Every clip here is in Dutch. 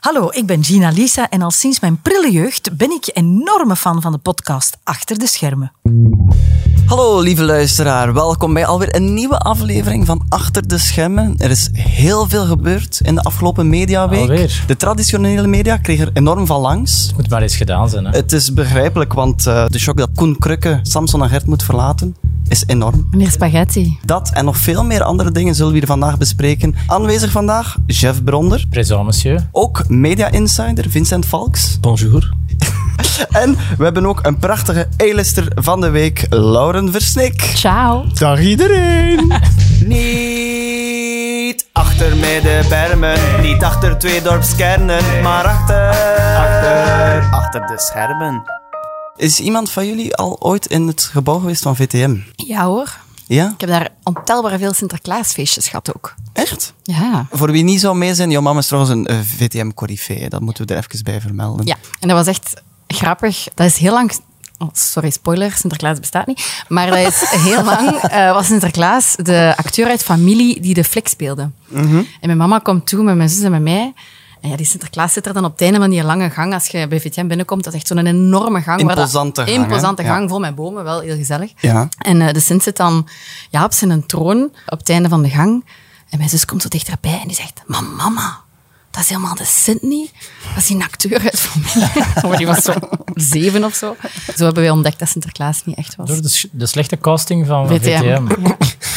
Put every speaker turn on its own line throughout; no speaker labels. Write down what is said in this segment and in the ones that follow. Hallo, ik ben Gina Lisa en al sinds mijn prille jeugd ben ik enorme fan van de podcast Achter de Schermen.
Hallo lieve luisteraar, welkom bij alweer een nieuwe aflevering van Achter de Schermen. Er is heel veel gebeurd in de afgelopen mediaweek.
Alweer?
De traditionele media kreeg er enorm van langs.
Moet maar eens gedaan zijn. Hè?
Het is begrijpelijk, want eh, de shock dat Koen Krukke Samson en Gert moet verlaten is enorm.
Meneer Spaghetti.
Dat en nog veel meer andere dingen zullen we hier vandaag bespreken. Aanwezig vandaag, Jeff Bronder.
Présent, monsieur.
Ook media insider Vincent Valks.
Bonjour.
En we hebben ook een prachtige A-lister van de week, Lauren Versnik.
Ciao.
Dag iedereen.
Niet achter middenbermen, niet achter twee dorpskernen, maar achter, achter, achter de schermen. Is iemand van jullie al ooit in het gebouw geweest van VTM?
Ja hoor.
Ja?
Ik heb daar ontelbaar veel Sinterklaasfeestjes gehad ook.
Echt?
Ja.
Voor wie niet zou mee zijn, jouw mama is trouwens een eh, VTM-corifee. Dat moeten we er even bij vermelden.
Ja. En dat was echt grappig. Dat is heel lang... oh, sorry, spoiler. Sinterklaas bestaat niet. Maar dat is heel lang... eh, was Sinterklaas de acteur uit familie die de flik speelde.
Mhm.
En mijn mama komt toe met mijn zus en met mij... En ja, die Sinterklaas zit er dan op het einde van die lange gang. Als je bij VTM binnenkomt, dat is echt zo'n enorme gang. waar dat-
Imposante gang, hè?
Imposante
Ja.
gang, vol met bomen. Wel heel gezellig.
Ja.
En eh, de Sint zit dan ja, op zijn troon op het einde van de gang. En mijn zus komt zo dichterbij en die zegt: Maar mama, dat is helemaal de Sint niet. Dat is die acteur uit familie. Maar die was zo zeven of zo. Zo hebben wij ontdekt dat Sinterklaas niet echt was.
Door de, s- de slechte casting van van VTM.
VTM.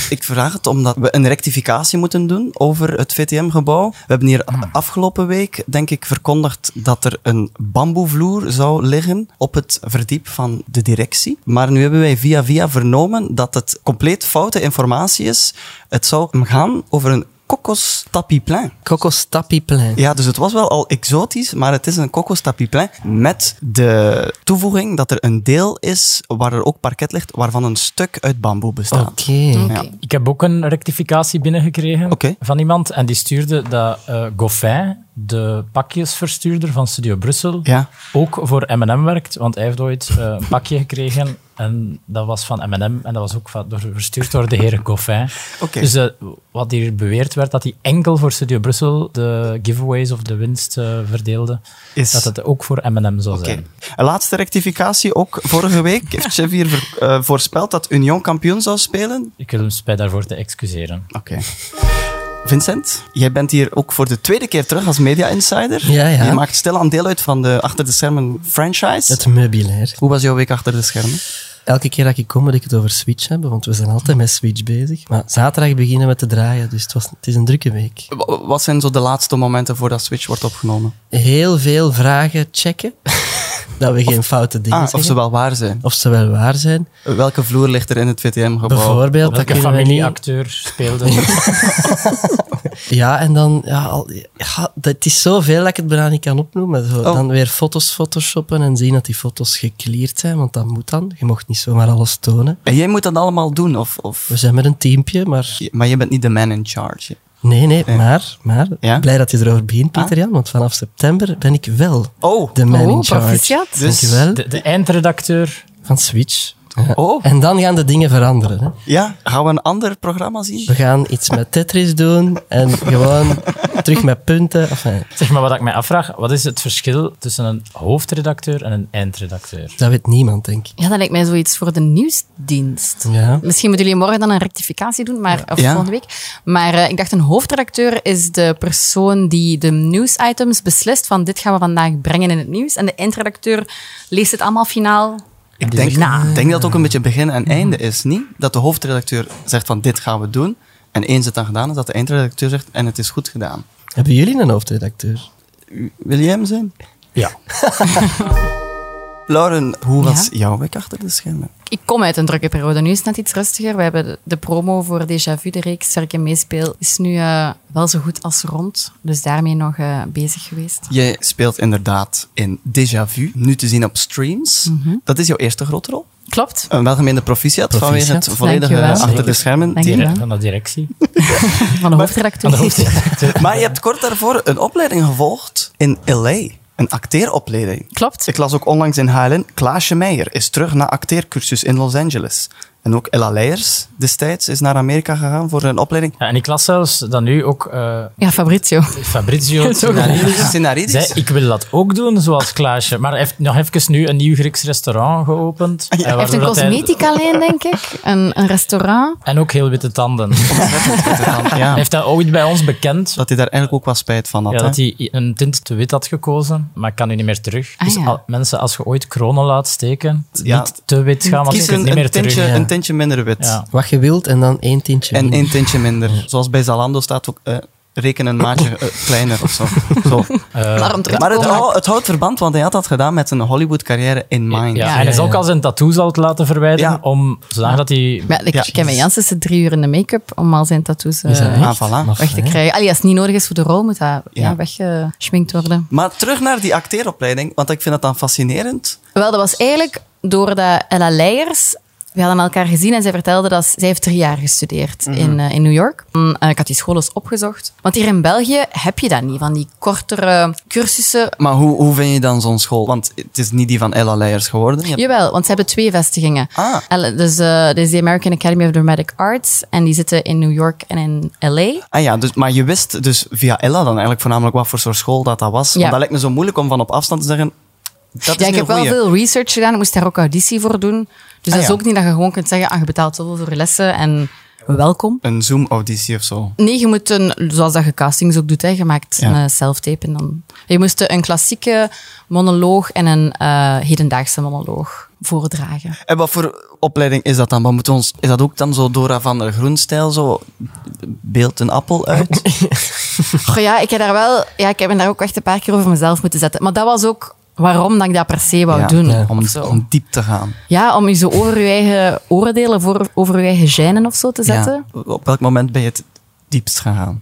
Ik vraag het omdat we een rectificatie moeten doen over het VTM-gebouw. We hebben hier
Hmm.
afgelopen week, denk ik, verkondigd dat er een bamboevloer zou liggen op het verdiep van de directie. Maar nu hebben wij via via vernomen dat het compleet foute informatie is. Het zou gaan over een kokostapiplein.
Kokostapiplein.
Ja, dus het was wel al exotisch, maar het is een kokostapiplein met de toevoeging dat er een deel is waar er ook parket ligt, waarvan een stuk uit bamboe bestaat.
Oké.
Oké.
Ja.
Ik heb ook een rectificatie binnengekregen
Oké.
van iemand. En die stuurde dat eh Goffin, de pakjesverstuurder van Studio Brussel,
Ja.
ook voor M&M werkt. Want hij heeft ooit eh, een pakje gekregen. En dat was van M&M. En dat was ook van, door, verstuurd door de heer Goffin.
Oké.
Dus eh, wat hier beweerd werd, dat hij enkel voor Studio Brussel de giveaways of de winst eh, verdeelde.
Is-
Dat het ook voor M&M zou
Oké.
zijn.
Een laatste rectificatie ook. Vorige week heeft Chef hier ver- eh, voorspeld dat Union kampioen zou spelen.
Ik wil hem spijt daarvoor te excuseren.
Oké. Vincent, jij bent hier ook voor de tweede keer terug als media insider.
Ja, ja.
Je maakt stilaan deel uit van de achter de schermen franchise.
Het meubilair.
Hoe was jouw week achter de schermen?
Elke keer dat ik kom, moet ik het over Switch hebben, want we zijn altijd met Switch bezig. Maar zaterdag beginnen we te draaien, dus het, was, het is een drukke week.
Wa- Wat zijn zo de laatste momenten voordat Switch wordt opgenomen?
Heel veel vragen checken, dat we geen foute dingen
Ah,
zeggen.
of ze wel waar zijn.
Of ze wel waar zijn.
Welke vloer ligt er in het VTM-gebouw?
Bijvoorbeeld, dat
Welke
kunnen we niet...
familieacteur speelde
Ja, en dan, ja, al, ja, dat is zoveel dat ik het bijna niet kan opnoemen. Zo,
Oh.
Dan weer foto's photoshoppen en zien dat die foto's gecleared zijn, want dat moet dan. Je mocht niet zomaar alles tonen.
En jij moet dat allemaal doen, of, of...
We zijn met een teampje, maar...
Maar jij bent niet de man in charge.
Nee, nee, maar, maar
Eh. Ja? Ah.
blij dat je erover begint, Pieter Jan, want vanaf september ben ik wel
Oh,
de man
Oh,
in charge.
proficiat.
Dus-
Dankjewel.
De, de eindredacteur.
Van Switch. Ja.
Oh.
En dan gaan de dingen veranderen. Hè.
ja? Gaan we een ander programma zien?
We gaan iets met Tetris doen en gewoon terug met punten. Enfin,
Zeg maar wat ik mij afvraag, wat is het verschil tussen een hoofdredacteur en een eindredacteur?
dat weet niemand, denk ik.
Ja, dat lijkt mij zoiets voor de nieuwsdienst.
Ja.
Misschien moeten jullie morgen dan een rectificatie doen, maar, of
Ja.
volgende week. Maar eh, ik dacht, een hoofdredacteur is de persoon die de nieuwsitems beslist van dit gaan we vandaag brengen in het nieuws. En de eindredacteur leest het allemaal finaal.
Ik denk,
na.
ik denk dat het ook een beetje begin en einde is, niet? Dat de hoofdredacteur zegt van dit gaan we doen. En eens het dan gedaan is, dat de eindredacteur zegt en het is goed gedaan.
Hebben jullie een hoofdredacteur?
Wil jij hem zijn?
Ja.
Lauren, hoe
Ja?
was jouw week achter de schermen?
Ik kom uit een drukke periode. Nu is het net iets rustiger. We hebben de, de promo voor Déjà Vu, de reeks waar ik in meespeel, is nu eh, wel zo goed als rond. Dus daarmee nog eh, bezig geweest.
Jij speelt inderdaad in Déjà Vu, nu te zien op streams. Dat is jouw eerste grote rol.
Klopt.
Een welgemeende proficiat,
Proficiat,
vanwege het volledige
dankjewel.
achter de
Zeker.
schermen.
Dank je.
team.
Ja.
Van de directie.
Van de hoofdredacteur.
Maar je hebt kort daarvoor een opleiding gevolgd in L.A., een acteeropleiding.
Klopt.
Ik las ook onlangs in HLN, Klaasje Meijer is terug na acteercursus in Los Angeles. En ook Ella Leijers destijds is naar Amerika gegaan voor een opleiding.
Ja, en ik las zelfs dat nu ook eh,
Ja, Fabrizio.
Fabrizio
Zo
Tsunarides zei,
Scenaridisch?
Ah, ik wil dat ook doen, zoals Klaasje. Maar hij heeft nog even nu een nieuw Grieks restaurant geopend. eh,
Ah, Hij heeft een
waardoor dat hij-
cosmetica lijn, denk ik. Een, een restaurant.
En ook heel witte tanden. Hij
Ja.
heeft dat ooit bij ons bekend.
Dat hij daar eigenlijk ook wel spijt van had.
Ja,
hè?
dat hij een tint te wit had gekozen, maar ik kan nu niet meer terug.
Ah,
dus
ja.
al- mensen, als je ooit kronen laat steken,
Ja.
niet te wit gaan, want je
Kies
kunt
een,
niet meer
een tintje,
terug.
ja.
een tintje minder wit.
Ja.
Wat je wilt en dan één tintje.
En
minder.
één tintje minder. Zoals bij Zalando staat ook... eh, Reken een maatje eh, kleiner of zo. zo.
Eh,
Daarom terug
Maar
te
het,
komen.
hou- het houdt verband, want hij had dat gedaan met zijn Hollywood-carrière in
Ja,
mind.
en hij is ook al zijn tattoos al het laten verwijderen,
Ja.
om, zodat dat hij...
Maar ja, ik-
Ja.
Kevin Janssens zit drie uur in de make-up om al zijn tattoos eh,
Is dat
Ah,
echt?
voilà.
Maar
weg te
fijn.
krijgen. Allee, als het niet nodig is voor de rol, moet dat ja.
Ja.
weggeschminkt worden.
Maar terug naar die acteeropleiding, want ik vind dat dan fascinerend.
Wel, dat was eigenlijk doordat Ella Leijers... We hadden elkaar gezien en zij vertelde dat zij heeft drie jaar gestudeerd in, eh, in New York. Mm, en ik had die school eens opgezocht. Want hier in België heb je dat niet, van die kortere cursussen.
Maar hoe, hoe vind je dan zo'n school? Want het is niet die van Ella Leijers geworden. Je hebt-
Jawel, want ze hebben twee vestigingen.
Ah.
Elle- Dus eh, dit is de American Academy of Dramatic Arts. En die zitten in New York en in L.A.
Ah ja, dus, maar je wist dus via Ella dan eigenlijk voornamelijk wat voor soort school dat dat was.
Ja.
Want dat lijkt me zo moeilijk om van op afstand te zeggen... Dat is
ja, ik
nu
heb
een goeie.
wel veel research gedaan. Ik moest daar ook auditie voor doen. Dus
Ah,
dat is
ja.
ook niet dat je gewoon kunt zeggen, ah, je betaalt zoveel voor je lessen en welkom.
Een Zoom-auditie of zo.
Nee, je moet een, zoals dat je castings ook doet, hè, je maakt
Ja.
een eh, self-tape en dan... Je moest een klassieke monoloog en een eh, hedendaagse monoloog voordragen.
En wat voor opleiding is dat dan? Wat moeten we ons, is dat ook dan zo Dora van der Groenstijl? Zo beeld een appel uit?
Goh, ja, ik heb daar wel... Ja, ik heb me daar ook echt een paar keer over mezelf moeten zetten. Maar dat was ook waarom dat ik dat per se wou
Ja,
doen.
ja.
of
Om,
zo.
om diep te gaan.
Ja, om je zo over je eigen oordelen, voor, over je eigen gijnen of zo te zetten.
Ja. Op welk moment ben je het diepst gegaan?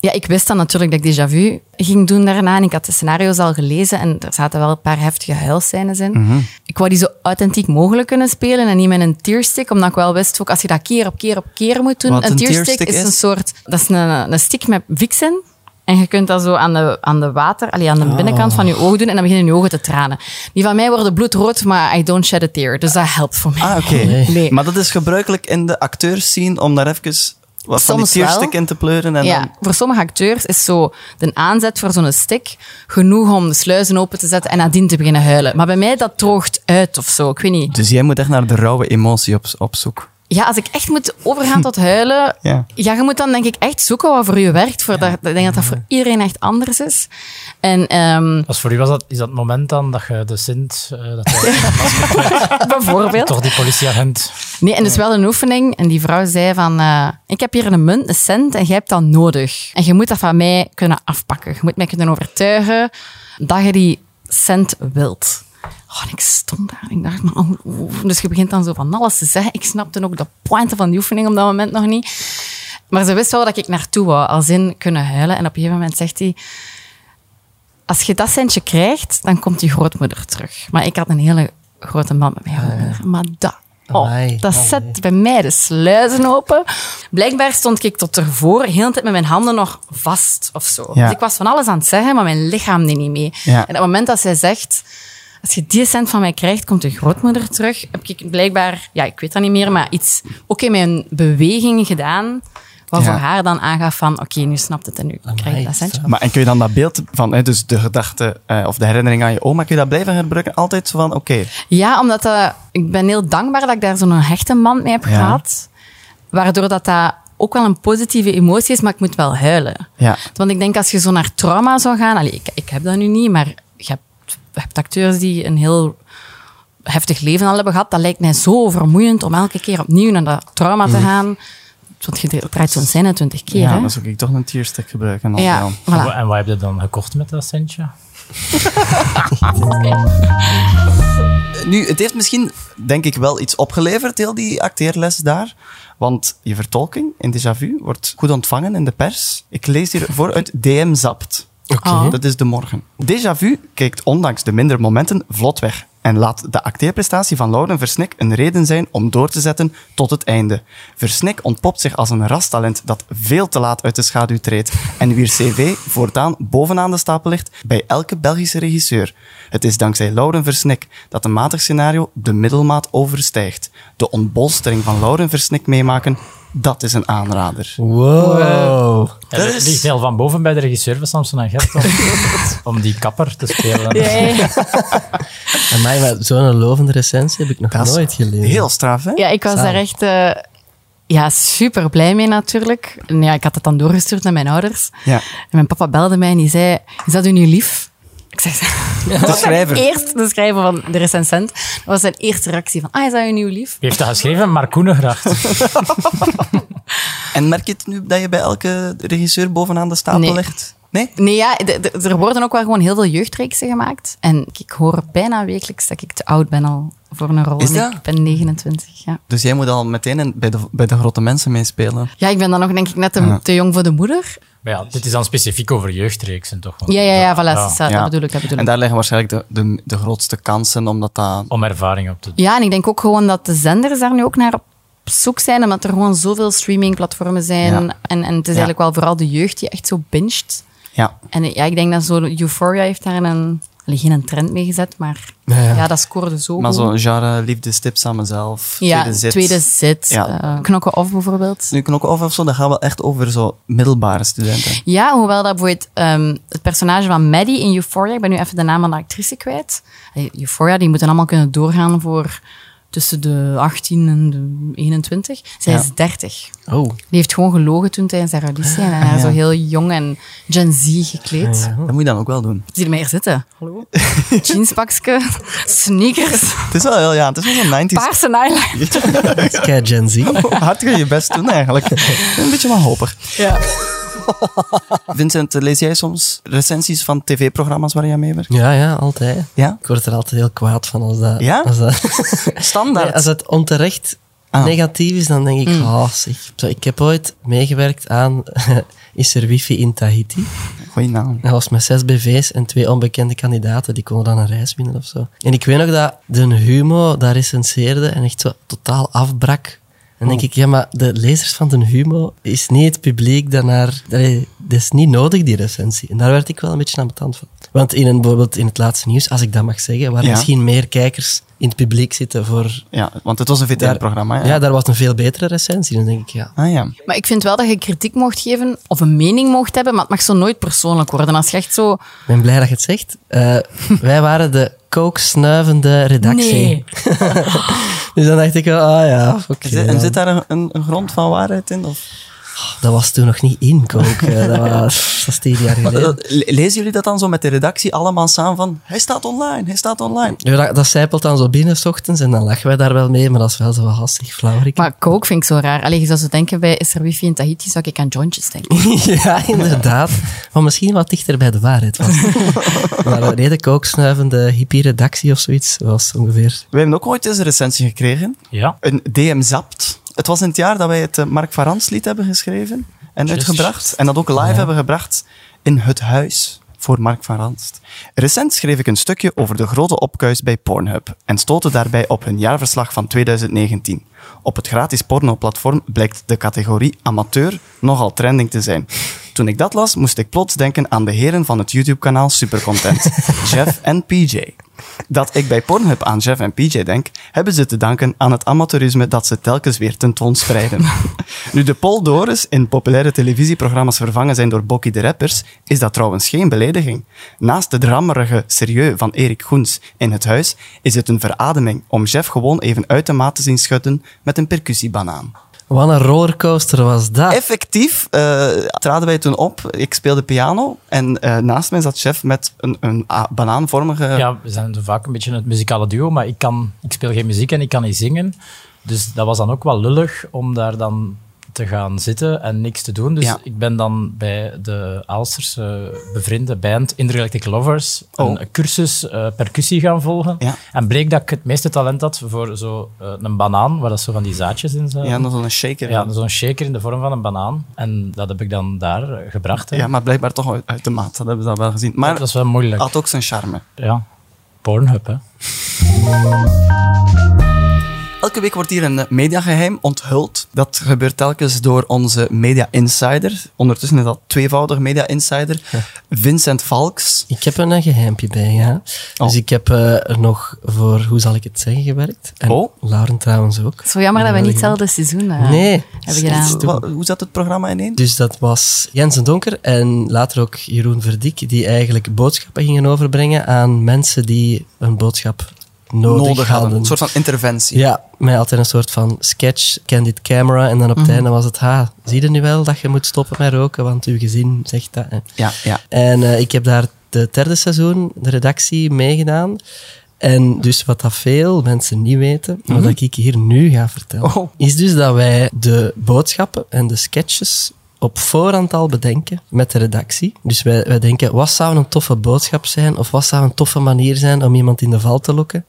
Ja, ik wist dan natuurlijk dat ik déjà vu ging doen daarna. En ik had de scenario's al gelezen en er zaten wel een paar heftige huilscènes in.
Mhm.
Ik wou die zo authentiek mogelijk kunnen spelen en niet met een tearstick. Omdat ik wel wist, ook als je dat keer op keer op keer moet doen.
Wat een tearstick
is,
is?
een soort... Dat is een, een stick met vixen. En je kunt dat zo aan de, aan de water, allee, aan de
Ah.
binnenkant van je oog doen. En dan beginnen je ogen te tranen. Die van mij worden bloedrood, maar I don't shed a tear. Dus dat helpt voor mij.
Ah, oké.
Oh, Nee.
Nee.
Maar dat is gebruikelijk in de acteurscene om daar even wat van die
Soms wel.
tearstick in te pleuren. En
ja,
dan,
voor sommige acteurs is zo de aanzet voor zo'n stick genoeg om de sluizen open te zetten en nadien te beginnen huilen. Maar bij mij, dat droogt uit of zo. Ik weet niet.
dus jij moet echt naar de rauwe emotie op, op zoek.
Ja, als ik echt moet overgaan tot huilen...
Ja.
Ja. je moet dan denk ik echt zoeken wat voor je werkt. Voor dat, ik denk dat dat voor iedereen echt anders is. En ehm,
Als voor u was dat, is dat het moment dan dat je de Sint, eh, dat hij
bijvoorbeeld...
toch die politieagent...
Nee, en dus wel een oefening. En die vrouw zei van, eh, ik heb hier een munt, een cent, en jij hebt dat nodig. En je moet dat van mij kunnen afpakken. Je moet mij kunnen overtuigen dat je die cent wilt. Oh, en ik stond daar en ik dacht, maar, hoe- hoe- hoe? dus je begint dan zo van alles te zeggen. Ik snapte ook de pointe van die oefening op dat moment nog niet. Maar ze wist wel dat ik naartoe wou, als in kunnen huilen. En op een gegeven moment zegt hij, als je dat centje krijgt, dan komt je grootmoeder terug. Maar ik had een hele grote man met mijn grootmoeder. Maar dat, oh,
Ah, Amai.
dat
Amai.
zet bij mij de sluizen open. Blijkbaar stond ik tot ervoor, heel de hele tijd met mijn handen nog vast of zo.
Ja.
Dus ik was van alles aan het zeggen, maar mijn lichaam deed niet mee.
Ja.
En op het moment dat zij zegt, als je die cent van mij krijgt, komt je grootmoeder terug, heb ik blijkbaar, ja, ik weet dat niet meer, maar iets ook in mijn beweging gedaan, wat
Ja.
voor haar dan aangaf van, oké, nu snapt het en nu krijg je dat centje.
straf.
Maar en kun je dan dat beeld van, hè, dus de gedachte eh, of de herinnering aan je oma, kun je dat blijven herbruiken? Altijd zo van, oké,
Ja, omdat dat- ik ben heel dankbaar dat ik daar zo'n hechte band mee heb
Ja.
gehad. Waardoor dat, dat ook wel een positieve emotie is, maar ik moet wel huilen.
ja.
Want ik denk als je zo naar trauma zou gaan... Allee, ik, ik heb dat nu niet, maar je hebt, je hebt acteurs die een heel heftig leven al hebben gehad. Dat lijkt mij zo vermoeiend om elke keer opnieuw naar dat trauma te gaan. Want je draait zo'n scène twintig keer.
Mm. Ja,
hè?
dan zou ik toch een tearstick gebruiken. dan
ja,
wel.
voilà.
En wat heb je dan gekocht met dat centje?
Nu, het heeft misschien, denk ik, wel iets opgeleverd, heel die acteerles daar. Want je vertolking in Déjà Vu wordt goed ontvangen in de pers. Ik lees hier vooruit DM Zapt.
Oké.
Ah.
Dat is de morgen. Déjà Vu kijkt ondanks de minder momenten vlot weg. En laat de acteerprestatie van Lauren Versnik een reden zijn om door te zetten tot het einde. Versnik ontpopt zich als een rastalent dat veel te laat uit de schaduw treedt en wier cv voortaan bovenaan de stapel ligt bij elke Belgische regisseur. Het is dankzij Lauren Versnik dat een matig scenario de middelmaat overstijgt. De ontbolstering van Lauren Versnik meemaken, dat is een aanrader.
Wow.
En Het
is-
ligt heel van boven bij de regisseur van Samson en Gert om, om die kapper te spelen.
Amai, maar zo'n lovende recensie heb ik nog
Dat is
nooit gelezen.
Heel straf, hè?
Ja, ik was daar echt eh, ja, super blij mee natuurlijk. En ja, ik had het dan doorgestuurd naar mijn ouders.
Ja.
En mijn papa belde mij en die zei: Is dat u nu lief? Ik zeg, dat was mijn
schrijver.
Eerst de schrijver van de recensent. Dat was zijn eerste reactie van, ah, is dat u nu lief?
Wie heeft dat geschreven? Mark Koenegracht.
En merk je het nu dat je bij elke regisseur bovenaan de stapel
Nee.
ligt? Nee?
Nee, ja, de- de- er worden ook wel gewoon heel veel jeugdreeksen gemaakt. En ik hoor bijna wekelijks dat ik te oud ben al voor een rol.
Is
En
dat?
Ik ben 29, ja.
Dus jij moet al meteen in- bij, de, bij de grote mensen meespelen.
Ja, ik ben dan nog denk ik net te, te jong voor de moeder.
Maar ja, dit is dan specifiek over jeugdreeksen, toch? Want
Ja, ja, ja, voilà,
Ja.
is dat, dat bedoel ik, dat bedoel
En
ik.
daar liggen waarschijnlijk de, de, de grootste kansen, omdat dat...
Om ervaring op te doen.
Ja, en ik denk ook gewoon dat de zenders daar nu ook naar op zoek zijn, omdat er gewoon zoveel streamingplatformen zijn.
Ja.
En, en het is
Ja.
eigenlijk wel vooral de jeugd die echt zo binget.
Ja.
En eh, ja, ik denk dat zo Euphoria heeft daar een... allee, geen een trend mee gezet, maar ja, dat scoorde zo
Maar
goed.
zo'n genre liefdestips aan mezelf.
ja,
tweede zit.
zit,
Ja.
eh, knokken of bijvoorbeeld.
Nu knokken over of zo, dat gaat wel echt over zo middelbare studenten.
Ja, hoewel dat bijvoorbeeld ehm, het personage van Maddie in Euphoria, ik ben nu even de naam van de actrice kwijt. Allee, Euphoria, die moeten allemaal kunnen doorgaan voor tussen de 18 en de 21. Zij
Ja.
is 30.
Oh.
Die heeft gewoon gelogen toen tijdens haar auditie en haar
Ah, ja. Ah,
zo heel jong en Gen Z gekleed.
Dat moet je dan ook wel doen.
Zie je mij hier zitten? Hallo? Jeanspakske, sneakers,
Het is wel heel, ja, het is wel zo'n 90s.
paarse eyeliner.
Dat is kei Gen Z.
Hard kun je best doen eigenlijk. Een beetje wanhopig.
Ja.
Vincent, lees jij soms recensies van tv-programma's waar jij mee werkt?
Ja, ja, altijd.
Ja?
Ik word er altijd heel kwaad van als dat...
Ja?
Als dat,
Standaard.
Nee, als het onterecht
Ah. Mm.
negatief is, dan denk ik... Oh, zeg. Zo, ik heb ooit meegewerkt aan... is er wifi in Tahiti?
Goeie naam.
Dat was met zes BV's en twee onbekende kandidaten. Die konden dan een reis winnen of zo. En ik weet nog dat de Humo daar recenseerde en echt zo totaal afbrak.
Oh.
En dan denk ik, ja, maar de lezers van de Humo is niet het publiek dat naar... Allee, Dat is niet nodig, die recensie. En daar werd ik wel een beetje ambetant van. Want in een, bijvoorbeeld in het laatste nieuws, als ik dat mag zeggen, waar
Ja.
misschien meer kijkers in het publiek zitten voor...
Ja, want het was een
daar-
VTR-programma.
ja, daar was een veel betere recensie. Dan denk ik, ja,
Ah ja.
Maar ik vind wel dat je kritiek mocht geven of een mening mocht hebben, maar het mag zo nooit persoonlijk worden. Als je echt zo...
Ik ben blij dat je het zegt. Eh, wij waren de kooksnuivende redactie.
Nee.
dus dan dacht ik wel, ah ja, oké.
Is dit-
dan.
en zit daar een, een, een grond van waarheid in? Of?
Dat was toen nog niet in kook. eh, dat, was, dat is tien jaar
Maar,
geleden.
eh, le- lezen jullie dat dan zo met de redactie allemaal samen van hij staat online, hij staat online?
Ja, dat, dat zijpelt dan zo binnen s ochtends en dan lachen wij daar wel mee, maar dat is wel zo hastig flauwerik.
Maar kook vind ik zo raar. Allee, je zou zo denken, bij is er wifi in Tahiti, zou ik aan Johntjes denken.
ja, inderdaad. Maar misschien wat dichter bij de waarheid was. maar eh, nee, de kooksnuivende hippie-redactie of zoiets was ongeveer.
We hebben ook ooit eens een recensie gekregen.
Ja.
Een DM Zapt. Het was in het jaar dat wij het eh, Mark Varans lied hebben geschreven en uitgebracht. En dat ook live hebben gebracht in Het Huis voor Mark van Ranst. Recent schreef ik een stukje over de grote opkuis bij Pornhub en stootte daarbij op hun jaarverslag van 2019. Op het gratis pornoplatform blijkt de categorie amateur nogal trending te zijn. Toen ik dat las, moest ik plots denken aan de heren van het YouTube-kanaal Supercontent, Jeff en PJ. Dat ik bij Pornhub aan Jeff en PJ denk, hebben ze te danken aan het amateurisme dat ze telkens weer tentoonspreiden. nu de Paul Doris in populaire televisieprogramma's vervangen zijn door Bokkie de Rappers, is dat trouwens geen belediging. Naast de drammerige serieus van Erik Goens in het huis, is het een verademing om Jeff gewoon even uit de maat te zien schutten met een percussie-banaan.
Wat een rollercoaster was
Ah.
dat.
Effectief eh, traden wij toen op. Ik speelde piano en eh, naast mij zat Jeff met een, een a- banaanvormige...
ja, we zijn zo vaak een beetje het muzikale duo, maar ik, kan, ik speel geen muziek en ik kan niet zingen. Dus dat was dan ook wel lullig om daar dan te gaan zitten en niks te doen. Dus
Ja.
ik ben dan bij de Aalsterse bevriende band Intergalactic Lovers
Oh.
een cursus eh, percussie gaan volgen.
Ja.
En bleek dat ik het meeste talent had voor zo, eh, een banaan, waar dat zo van die zaadjes in zaten.
Ja, nog zo'n shaker.
Ja, zo'n shaker in de vorm van een banaan. En dat heb ik dan daar eh, gebracht. hè.
Ja, maar blijkbaar toch uit- uit de maat. Dat hebben we dan wel gezien. Maar
dat is wel moeilijk.
had ook zijn charme.
Ja, Pornhub, hè.
Elke week wordt hier een eh, mediageheim onthuld. Dat gebeurt telkens door onze media insider. Ondertussen is dat tweevoudig media insider. Vincent Valks.
Ik heb er een geheimpje bij, ja. Dus
Oh.
ik heb eh, er nog voor, hoe zal ik het zeggen, gewerkt. En
Oh.
Lauren trouwens ook.
Het is wel jammer dat we niet hetzelfde seizoen eh,
Nee.
hebben gedaan.
Wa- Hoe zat het programma ineen?
Dus dat was Jens en Donker en later ook Jeroen Verdiek, die eigenlijk boodschappen gingen overbrengen aan mensen die een boodschap nodig, hadden.
Een soort van interventie.
Ja, met altijd een soort van sketch, candid camera. En dan op het
Mhm.
einde was het, ha, zie je nu wel dat je moet stoppen met roken, want uw gezin zegt dat. hè.
ja, ja.
En eh, ik heb daar de derde seizoen, de redactie, meegedaan. En dus wat dat veel mensen niet weten, maar dat ik hier nu ga vertellen,
Mhm. Oh.
is dus dat wij de boodschappen en de sketches op voorhand al bedenken met de redactie. Dus wij, wij denken, wat zou een toffe boodschap zijn? Of wat zou een toffe manier zijn om iemand in de val te lokken?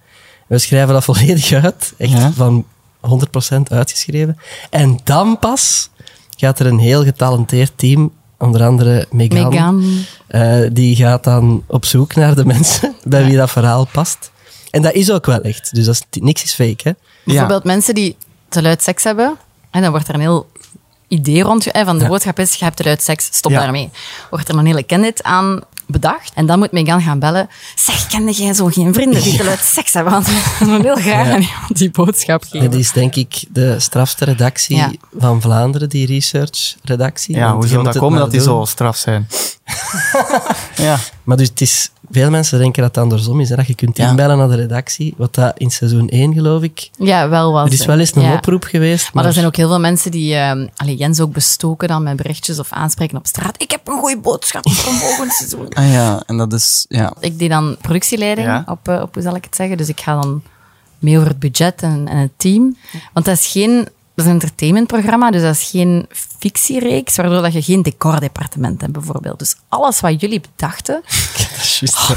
We schrijven dat volledig uit. Echt
Ja.
van 100% uitgeschreven. En dan pas gaat er een heel getalenteerd team, onder andere Megan,
Megan.
eh, die gaat dan op zoek naar de mensen bij wie dat verhaal past. En dat is ook wel echt. Dus dat is, niks is fake, hè?
Bijvoorbeeld mensen die te luid seks hebben. En dan wordt er een heel idee rond. hè, Van de boodschap is, je hebt te luid seks, stop
Ja.
daarmee. Wordt er een hele candid aan bedacht. En dan moet Megan gaan bellen. Zeg, kende jij zo geen vrienden die te luid seks hebben? Want we willen heel graag aan iemand die boodschap geven.
Dat is denk ik de strafste redactie
Ja.
van Vlaanderen, die research-redactie.
Ja,
Want
hoe
je
zou
moet
dat
het
komen
maar
dat die
doen.
zo straf zijn? ja.
Maar dus het is, veel mensen denken dat het andersom is. Hè? Dat je kunt
Ja.
inbellen naar de redactie, wat dat in seizoen 1 geloof ik.
Ja, wel was
Er is
hè.
wel eens een
Ja.
oproep geweest.
Maar er zijn ook heel veel mensen die ehm allee, Jens ook bestoken dan met berichtjes of aanspreken op straat. Ik heb een goede boodschap voor volgend seizoen.
Ah, ja, en dat is... Ja.
Ik deed dan productieleiding
Ja.
op, eh, op, hoe zal ik het zeggen? Dus ik ga dan mee over het budget en, en het team. Want dat is geen, dat is een entertainmentprogramma, dus dat is geen fictiereeks, waardoor dat je geen decordepartement hebt bijvoorbeeld. Dus alles wat jullie bedachten, Oh,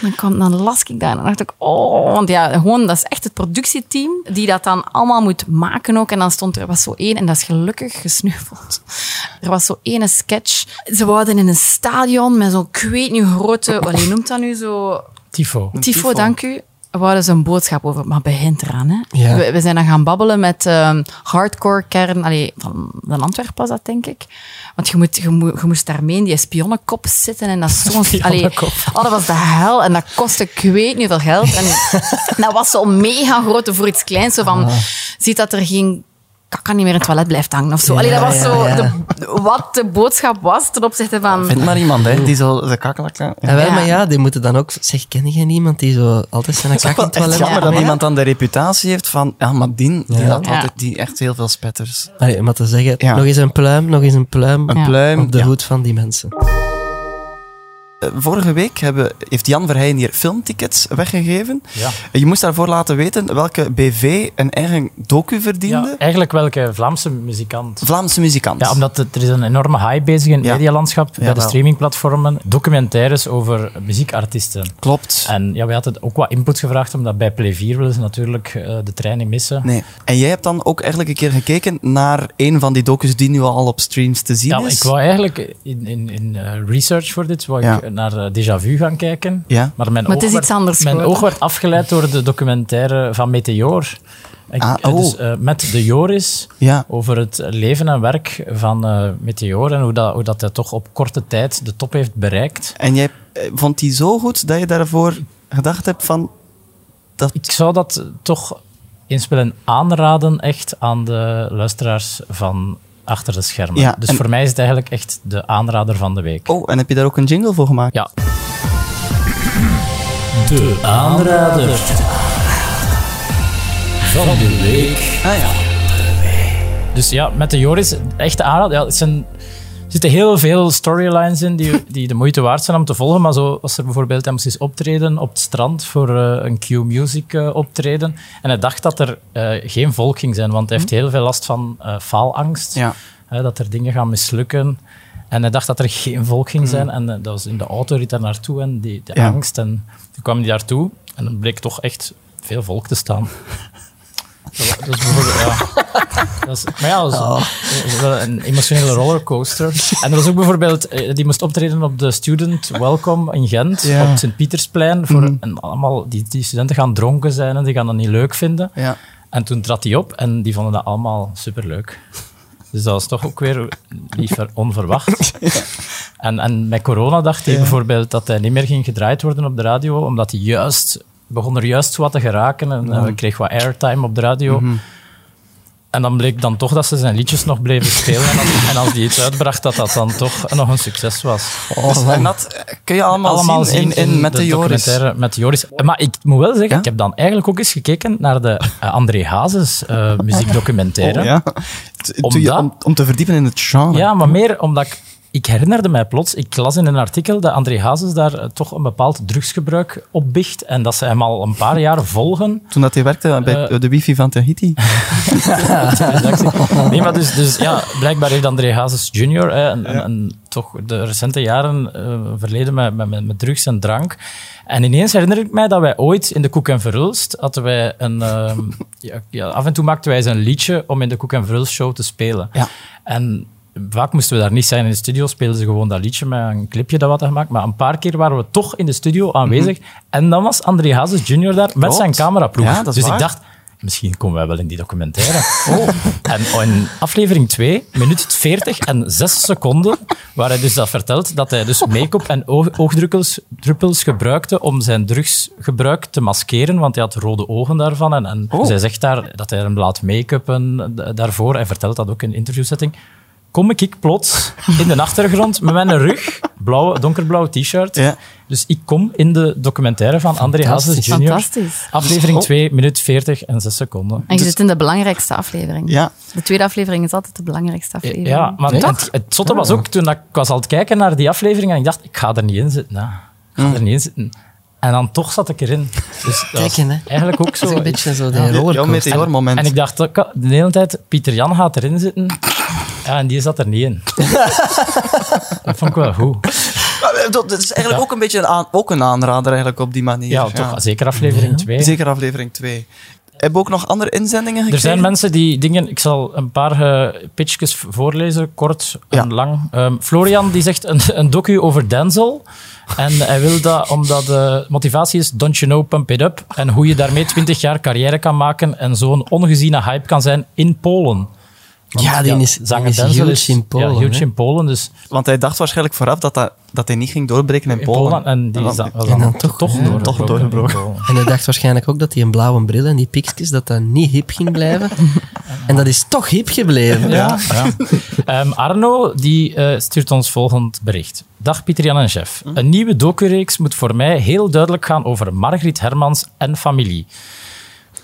dan, kwam, dan las ik daar en dan dacht ik, oh, want ja, gewoon, dat is echt het productieteam die dat dan allemaal moet maken ook. En dan stond er, was zo één, en dat is gelukkig gesneuveld. Er was zo ene sketch. Ze wouden in een stadion met zo'n, ik weet niet, hoe grote, wat je noemt dat nu zo?
Tifo.
Tifo, dank u. Wouden ze een boodschap over, maar begint eraan, hè?
Ja.
We, we zijn dan gaan babbelen met ehm, hardcore kern, allee, van, van Antwerpen was dat, denk ik. Want je, moet, je, moe- je moest daarmee in die spionnenkop zitten en dat is zo'n... allee, Oh, dat was de hel en dat kostte ik weet niet veel geld. En dat was zo mega groot voor iets kleins, zo
Ah.
van, ziet dat er geen kakka niet meer in het toilet blijft hangen of zo. Allee, dat
Ja,
was
ja,
zo
ja.
de- wat de boodschap was ten opzichte van...
Vind maar iemand, hè, die zo zijn kakelak... Ja.
En Ah, wel,
Ja.
maar ja, die moeten dan ook... Zeg, ken jij niemand die zo altijd zijn kak in
Het
het
is
toilet
jammer dat
Ja.
iemand dan de reputatie heeft van... Ja, maar die, die
Ja.
had
Ja.
altijd die echt heel veel spetters.
Allee, om maar te zeggen,
Ja.
nog eens een pluim, nog eens een pluim
Een
Ja.
pluim.
op de
Ehm, Ja.
hoed van die mensen.
Eh, Vorige week hebben, heeft Jan Verheyen hier filmtickets weggegeven.
Ja.
Eh, Je moest daarvoor laten weten welke BV een eigen docu verdiende.
Ja, eigenlijk welke Vlaamse muzikant?
Vlaamse muzikant.
Ja, omdat het- er is een enorme hype bezig in het
Ja.
medialandschap, bij de
Jawel.
streamingplatformen. Documentaires over muziekartiesten.
Klopt.
En ja, wij hadden ook wat input gevraagd, omdat bij Play 4 willen ze natuurlijk eh, de trein niet missen.
Nee. En jij hebt dan ook eigenlijk een keer gekeken naar een van die docus die nu al op streams te zien
Ja,
is.
ik wou eigenlijk in, in, in eh, research voor dit, wou
Ja.
ik naar eh, Déjà Vu gaan kijken.
Ja.
Maar mijn,
Maar het
oog,
is iets
werd,
anders
mijn
geworden.
oog werd afgeleid door de documentaire van Meteor. Ik-
Ah,
eh,
oh.
dus, eh, met de Joris
Ja.
over het leven en werk van eh, Meteor en hoe dat, hoe dat hij toch op korte tijd de top heeft bereikt.
En jij eh, vond die zo goed dat je daarvoor gedacht hebt van... Dat...
Ik zou dat toch eens willen aanraden echt aan de luisteraars van achter de schermen.
Ja,
dus
en-
voor mij is het eigenlijk echt de aanrader van de week.
Oh, en heb je daar ook een jingle voor gemaakt?
Ja. De aanrader van de week.
Ah ja.
Dus ja, met de Joris, echt de aanrader. Ja, het zijn, er zitten heel veel storylines in die, die de moeite waard zijn om te volgen. Maar zo was er bijvoorbeeld, hij moest eens optreden op het strand voor eh, een Q-Music eh, optreden. En hij dacht dat er eh, geen volk ging zijn, want hij heeft heel veel last van eh, faalangst.
Ja.
Hè, dat er dingen gaan mislukken. En hij dacht dat er geen volk ging zijn. En eh, dat was in de auto rit daar naartoe en die, de
Ja.
angst. En toen kwam hij daartoe en dan bleek toch echt veel volk te staan. Dat is bijvoorbeeld, ja. Dat is, maar ja, dat is, dat is wel een emotionele rollercoaster. En er was ook bijvoorbeeld, eh, die moest optreden op de Student Welcome in Gent,
Ja. Mhm.
op het Sint-Pietersplein. Voor, En allemaal, die, die studenten gaan dronken zijn en die gaan dat niet leuk vinden.
Ja.
En toen trad hij op en die vonden dat allemaal superleuk. Dus dat was toch ook weer niet ver- onverwacht. En, en met corona dacht hij bijvoorbeeld dat hij niet meer ging gedraaid worden op de radio, omdat hij juist begon er juist wat te geraken en eh, kreeg wat airtime op de radio.
Mhm.
En dan bleek dan toch dat ze zijn liedjes nog bleven spelen. En als, en als die iets uitbracht, dat dat dan toch nog een succes was.
Dus- en dat eh, kun je allemaal, zien, in, in met de, Joris.
documentaire Met de Joris. Eh, Maar ik moet wel zeggen,
Ja?
ik heb dan eigenlijk ook eens gekeken naar de eh, André Hazes eh, muziekdocumentaire.
Oh,
ja.
ja. T- doe je-
Omdat-
om, om te verdiepen in het genre.
maar meer omdat ik... Ik herinnerde mij plots, ik las in een artikel dat André Hazes daar eh, toch een bepaald drugsgebruik op bicht en dat ze hem al een paar jaar volgen.
Toen dat hij werkte bij
Eh,
de wifi van Tahiti.
Nee, maar dus, dus ja, blijkbaar heeft André Hazes junior, hè, een, een- een- toch de recente jaren eh, verleden met, met, met, met drugs en drank. En ineens herinner ik mij dat wij ooit in de Koek en Verhulst hadden wij een... ehm, ja, ja, af en toe maakten wij eens een liedje om in de Koek en Verhulst show te spelen.
Ja.
En vaak moesten we daar niet zijn in de studio, speelden ze gewoon dat liedje met een clipje dat we hadden gemaakt. Maar een paar keer waren we toch in de studio aanwezig. En dan was André Hazes junior daar met
Mhm. Klopt.
zijn cameraploeg.
Ja, dat is
dus
waar.
ik dacht, misschien komen wij wel in die documentaire. En in aflevering 2, minuut 40 en 6 seconden, waar hij dus dat vertelt, dat hij dus make-up en oog- oogdruppels druppels gebruikte om zijn drugsgebruik te maskeren, want hij had rode ogen daarvan. En, en zij zegt daar dat hij hem laat make-uppen d- daarvoor. Hij vertelt dat ook in een interviewsetting. Kom ik, ik plots in de achtergrond met mijn rug, blauwe, donkerblauwe t-shirt.
Ja.
Dus ik kom in de documentaire van André Hazes
Fantastisch.
Jr.
Fantastisch.
Aflevering 2, minuut 40 en 6 seconden. Dus,
dus-
En je zit in de belangrijkste aflevering.
Ja.
De tweede aflevering is altijd de belangrijkste aflevering.
Ja, maar het, het zotte was ook toen ik was aan het kijken naar die aflevering en ik dacht, ik ga er niet in zitten. hè. Ik ga er niet in zitten. En dan toch zat ik erin. Dus dat was
Kijken, hè.
eigenlijk ook zo.
Dat is een beetje zo de
Jouw
rollercoaster.
meteormoment.
En ik dacht ook de hele tijd, Pieter Jan gaat erin zitten. Ja, en die zat er niet in. dat vond ik wel goed.
Maar, eh, dat dat is eigenlijk ook een beetje een, aan- ook een aanrader eigenlijk op die manier.
Ja, toch, zeker aflevering 2.
Zeker aflevering 2. Hebben we ook nog andere inzendingen
Er
gekregen?
zijn mensen die dingen... Ik zal een paar eh, pitchjes voorlezen, kort en
Ja.
lang. Ehm, Florian die zegt een, een docu over Denzel. En hij wil dat omdat de motivatie is don't you know, pump it up. En hoe je daarmee 20 jaar carrière kan maken en zo'n ongeziene hype kan zijn in Polen. Want,
Ja, die is- die
zanger
is
Denzel
huge in Polen,
Ja, huge
hè?
in Polen, dus
Want hij dacht waarschijnlijk vooraf dat, dat, dat hij niet ging doorbreken in,
in Polen. En die is
dan-
dan, was dan
dan
toch,
toch-
toch
ja,
doorgebroken.
toch doorgebroken.
in Polen.
En hij dacht waarschijnlijk ook dat die een blauwe bril en die piekjes, dat dat niet hip ging blijven. En dat is toch hip gebleven.
Ja. Ehm, Arno die, eh, stuurt ons volgend bericht. Dag Pieter Jan en Chef. Een nieuwe docureeks moet voor mij heel duidelijk gaan over Margriet Hermans en familie.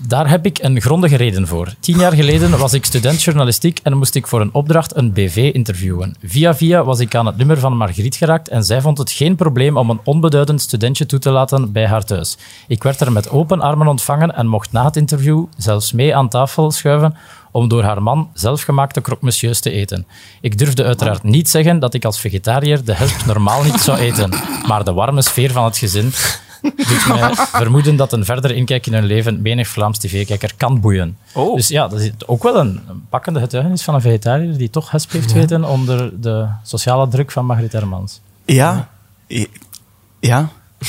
Daar heb ik een grondige reden voor. Tien jaar geleden was ik student journalistiek en moest ik voor een opdracht een BV interviewen. Via via was ik aan het nummer van Margriet geraakt en zij vond het geen probleem om een onbeduidend studentje toe te laten bij haar thuis. Ik werd er met open armen ontvangen en mocht na het interview zelfs mee aan tafel schuiven om door haar man zelfgemaakte croque-monsieurs te eten. Ik durfde uiteraard niet zeggen dat ik als vegetariër de helft normaal niet zou eten, maar de warme sfeer van het gezin doet mij vermoeden dat een verder inkijk in hun leven menig Vlaams tv-kijker kan boeien. Dus ja, dat is ook wel een, een pakkende getuigenis van een vegetariër die toch hesp heeft weten onder de sociale druk van Margriet Hermans.
Ja. Ja.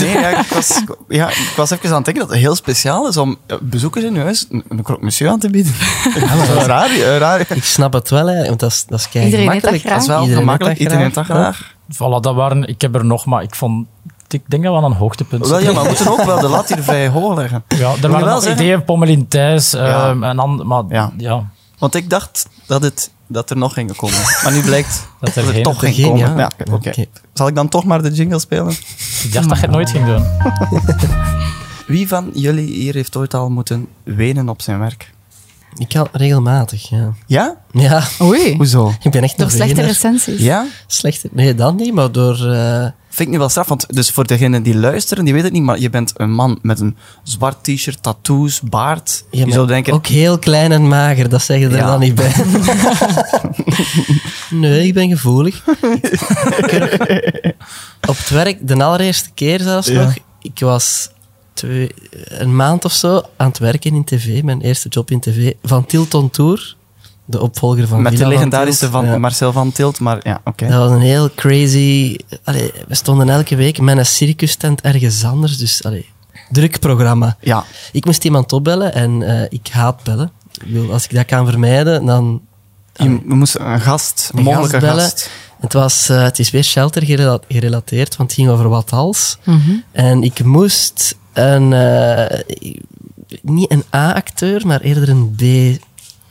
Nee, ja, ik was, ja, ik was even aan het denken dat het heel speciaal is om eh, bezoekers in je huis een, een croque monsieur aan te bieden. Dat is raar, eh, raar.
Ik snap het wel, hè, want dat is, dat is kei
Iedereen eet dat
gemakkelijk.
graag.
Dat is wel
Iedereen
gemakkelijk,
eet dat
iedereen heeft dat graag.
Voilà, dat waren... Ik heb er nog, maar ik vond... Ik denk dat we aan een hoogtepunt
Wel, ja,
zitten.
maar we moeten ook wel de lat hier vrij hoog leggen.
Ja, er
je
waren
wel
nog
zeggen-
ideeën, Pommelin Thijs,
Ja.
ehm, en dan, maar ja.
Ja. Want ik dacht dat, het, dat er nog gingen komen. Maar nu blijkt
Dat er
dat er,
geen-
toch
er
geen
geen,
komen.
ja.
Ja, oké.
Oké.
Zal ik dan toch maar de jingle spelen?
ik dacht dat je het nooit ging doen.
Wie van jullie hier heeft ooit al moeten wenen op zijn werk?
Ik kan regelmatig, ja.
Ja?
Ja,
Oei.
Hoezo?
ik ben echt
Door
een
slechte
vegener.
recensies.
Ja?
Slechte, nee, dan niet, maar door... eh,
Vind ik nu wel straf, want dus voor degenen die luisteren, die weten het niet, maar je bent een man met een zwart t-shirt, tattoos, baard.
ja,
je
maar
zou denken,
Ook heel klein en mager, dat zeg je er
Ja.
dan niet bij. nee, ik ben gevoelig. Ik- Op het werk, de allereerste keer zelfs nog, ik was twee, een maand of zo aan het werken in tv, mijn eerste job in tv, van Tilton Tour, de opvolger van
Met de
Villa van
legendarische
Tilt.
van
Ja.
Marcel van Tilt, maar ja, oké.
Dat was een heel crazy... Allee, we stonden elke week met een circustent ergens anders, dus allee, druk programma.
Ja,
Ik moest iemand opbellen en eh, ik haat bellen. Ik bedoel, als ik dat kan vermijden, dan
je, we moesten een gast, een
een
mogelijke
gast bellen.
gast.
Het, was, eh, het is weer shelter gerela- gerelateerd, want het ging over wat als. En ik moest een, eh, niet een A-acteur, maar eerder een B-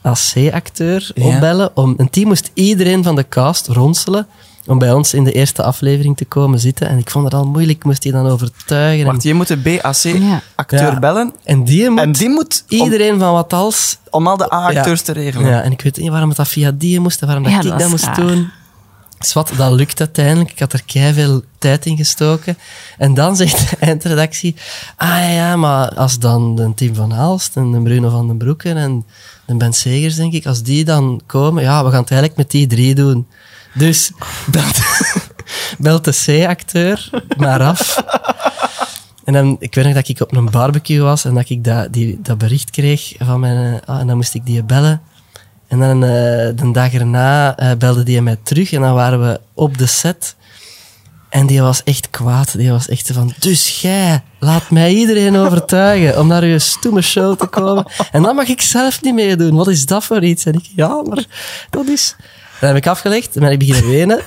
als C-acteur
Ja.
opbellen. Om, een team moest iedereen van de cast ronselen om bij ons in de eerste aflevering te komen zitten. En ik vond het al moeilijk, ik moest die dan overtuigen.
Wacht, je moet de
Ja.
BAC-acteur
Ja.
bellen.
en die moet
En die moet om,
iedereen van wat als
om al de A-acteurs te regelen.
Ja, en ik weet niet waarom het dat via die moest en waarom dat
Ja,
ik
dat
dat,
is
moest
raar.
doen. Zwat, dat lukt uiteindelijk. Ik had er veel tijd in gestoken. En dan zegt de eindredactie... Ah ja, ja, maar als dan de Tim van Aalst en de Bruno van den Broeken en de Ben Segers, denk ik, als die dan komen, ja, we gaan het eigenlijk met die drie doen. Dus belt, belt de C-acteur maar af. En dan, ik weet nog dat ik op een barbecue was en dat ik dat, die, dat bericht kreeg van mijn... eh, ah, en dan moest ik die bellen. En dan eh, de dag erna eh, belde die mij terug en dan waren we op de set. En die was echt kwaad. Die was echt van, dus jij laat mij iedereen overtuigen om naar uw stoeme show te komen. En dan mag ik zelf niet meedoen. Wat is dat voor iets? En ik, ja, maar dat is... En dan heb ik afgelegd en ben ik beginnen wenen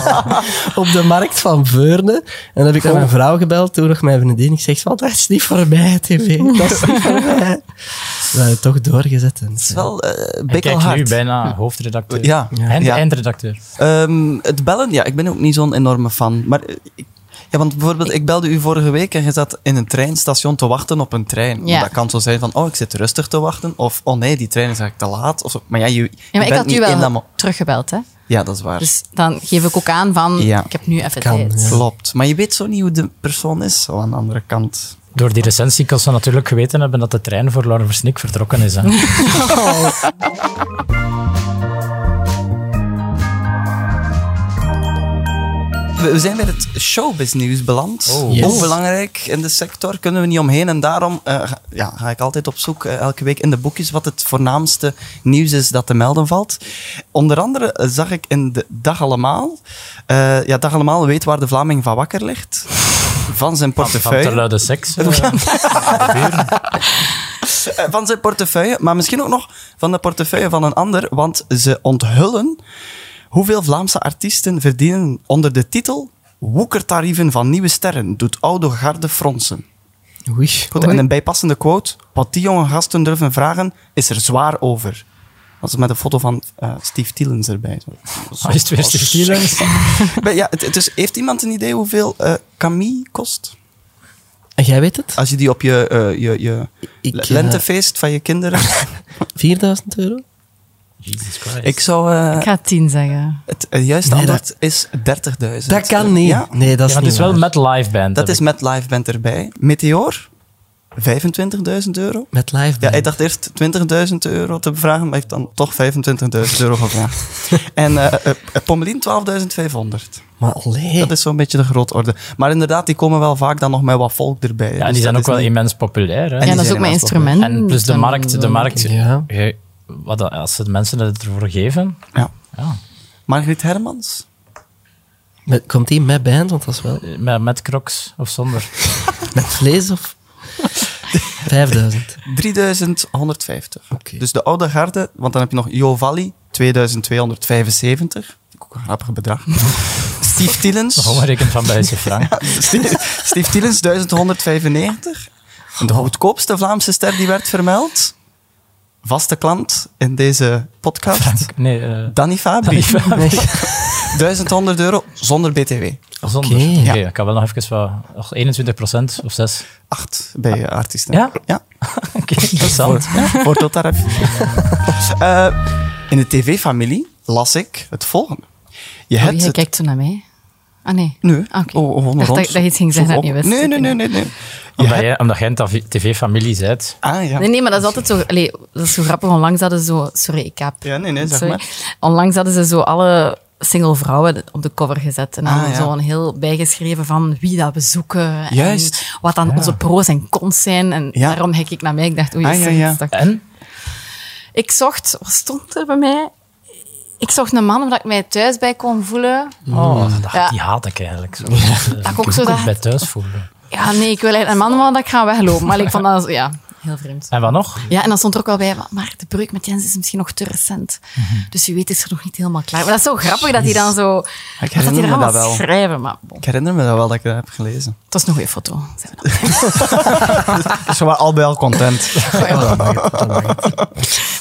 op de markt van Veurne. En dan heb ik aan mijn vrouw gebeld, toen nog mijn vriendin. Ik zeg, want dat is niet voor mij, tv. Dat is niet voor mij. We hebben het toch doorgezet. En,
Dat is wel eh
Ik kijk nu
bikkelhard.
bijna hoofdredacteur.
Ja.
En
Ja.
eindredacteur.
Ehm, het bellen, ja, ik ben ook niet zo'n enorme fan. Maar eh, ik- ja, want bijvoorbeeld, ik belde u vorige week en je zat in een treinstation te wachten op een trein.
Ja.
Dat kan zo zijn van, oh, ik zit rustig te wachten. Of, oh nee, die trein is eigenlijk te laat. Of, zo. maar ja, je, je
Ja, maar ik
bent
had
niet
u
in dat
wel
mo-
teruggebeld, hè?
Ja, dat is waar.
Dus dan geef ik ook aan van,
Ja.
ik heb nu even
Kan,
tijd.
ja.
Klopt. Maar je weet zo niet hoe de persoon is, zo aan de andere kant.
Door die recensie kan ze natuurlijk geweten hebben dat de trein voor Lauren Versnik vertrokken is. Hè.
Oh,
We we zijn bij het showbiznieuws beland.
Oh.
Yes.
Hoe belangrijk in de sector, kunnen we niet omheen. En daarom eh, ga- ja, ga ik altijd op zoek, eh, elke week in de boekjes, wat het voornaamste nieuws is dat te melden valt. Onder andere eh, zag ik in de Dag Allemaal... eh, ja, Dag Allemaal weet waar de Vlaming van wakker ligt. Van zijn
Van te
portefeuille.
luide seks. eh,
Eh, van zijn portefeuille, maar misschien ook nog van de portefeuille van een ander, want ze onthullen hoeveel Vlaamse artiesten verdienen onder de titel Woekertarieven van nieuwe sterren doet oude garde fronsen.
Oei.
Goed, en een bijpassende quote, wat die jonge gasten durven vragen, is er zwaar over. Dat is met een foto van eh, Steve Tielens erbij. Zo.
Hij is het
Oh,
weer Steve Tielens?
Maar ja, het, het is- heeft iemand een idee hoeveel eh, Camille kost?
En jij weet het?
Als je die op je, eh, je, je
Ik, eh,
lentefeest van je kinderen...
4000 euro?
Jesus Christ.
ik zou... eh,
Ik ga tien zeggen.
Het, het juiste
Nee,
antwoord is 30.000.
Dat kan niet.
Ja,
Nee, dat
ja, maar
is niet
het is wel
waar.
met live band.
dat
heb
is met
ik.
live band erbij. Meteor, 25.000 euro.
Met live
Ja,
band.
ik dacht eerst 20.000 euro te vragen, maar heeft dan toch 25.000 euro gevraagd. en eh, eh, Pommelien 12.500.
Maar allee.
Dat is zo'n beetje de grootorde. Maar inderdaad, die komen wel vaak dan nog met wat volk erbij.
Ja,
Dus
die zijn
dat
ook wel
is niet-
immens populair. Hè?
En
Ja,
die
dat is
zijn
ook mijn
helaas toch, hè.
instrument.
En plus de
Dan-
markt. De markt
Ja.
Je- wat, dat- als de mensen het ervoor geven.
Ja.
Ja.
Margriet Hermans?
Met- komt die met band? Want dat is wel...
Met, met crocs of zonder.
Met vlees of... 5000.
3150.
Oké.
Dus de oude garde, want dan heb je nog Jovalli, 2275. Ook een grappig bedrag. Steve Tillens.
Omgerekend van bij zijn Frank.
Steve Steve Tillens, 1195. En de goedkoopste Vlaamse ster die werd vermeld. Vaste klant in deze podcast.
Nee, eh,
Danny Fabri.
Nee.
1100 euro zonder BTW.
zonder.
Oké.
Oké,
Ja.
ik kan wel nog even wat. nog 21% of 6.
8 bij eh, artiesten.
Ja?
ja.
Oké, interessant.
Voor tot daar heb je- Eh, in de tv-familie las ik het volgende. Je
Oh,
hebt
jij
het
kijkt toen naar mij. Ah, nee.
Nee.
Ah, oké.
Oh, gewoon
Ik dacht
rond.
dat je iets ging zeggen dat je niet wist.
Nee, nee, nee, nee. nee. Je
Omdat,
hebt-
jij, omdat jij een tv- tv-familie bent.
Ah, ja.
Nee, nee, maar dat is altijd zo... Allee, dat is zo grappig. Onlangs hadden ze zo... Sorry, ik heb...
Ja, nee, nee, zeg
sorry.
maar.
Onlangs hadden ze zo alle single vrouwen op de cover gezet. En dan
Ah, ja.
zo een heel bijgeschreven van wie dat we zoeken. en
Juist.
wat dan onze pro's en cons zijn. En
Ja.
daarom hek ik naar mij. Ik dacht, oei,
Ah,
is
ja,
er
ja.
iets dat-
En?
Ik zocht, wat stond er bij mij? Ik zocht een man waar ik mij thuis bij kon voelen.
Oh, dat,
Ja.
die haat ik eigenlijk. Zo.
ik
ik
ook zo
ook
dacht.
bij thuis voelen.
Ja, nee, ik wil eigenlijk een man waar dat ik ga weglopen. Maar ik vond dat, zo- ja, heel vreemd.
En wat nog?
Ja, en dan stond er ook wel bij, maar de breuk met Jens is misschien nog te recent. Dus wie weet is er nog niet helemaal klaar. Maar dat is zo grappig dat hij dan zo...
Mhm. Ik
dat hij
herinner
er
me dat
allemaal
wel.
schrijven, maar bon,
Ik herinner me dat wel dat ik dat heb gelezen.
het was een goede foto. zei hij dan.
Ze waren al bij al content.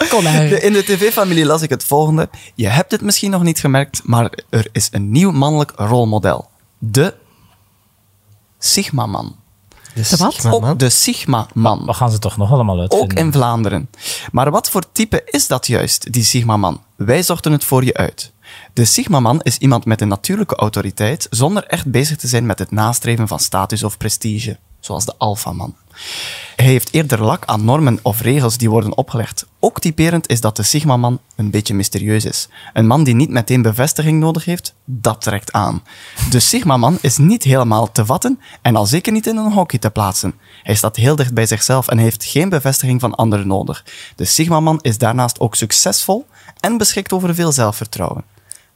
Kon daar.
De- In de tv-familie las ik het volgende. Je hebt het misschien nog niet gemerkt, maar er is een nieuw mannelijk rolmodel. De Sigma-man.
Dus,
De wat?
ik ben
Op
man.
Oh. De Sigma-man.
Wat gaan ze toch nog allemaal
Ook
uitvinden?
in Vlaanderen. Maar wat voor type is dat juist, die Sigma-man? Wij zochten het voor je uit. De Sigma-man is iemand met een natuurlijke autoriteit zonder echt bezig te zijn met het nastreven van status of prestige, zoals de Alpha-man. Hij heeft eerder lak aan normen of regels die worden opgelegd. Ook typerend is dat de Sigma-man een beetje mysterieus is. Een man die niet meteen bevestiging nodig heeft, dat trekt aan. De Sigma-man is niet helemaal te vatten en al zeker niet in een hokje te plaatsen. Hij staat heel dicht bij zichzelf en heeft geen bevestiging van anderen nodig. De Sigma-man is daarnaast ook succesvol en beschikt over veel zelfvertrouwen.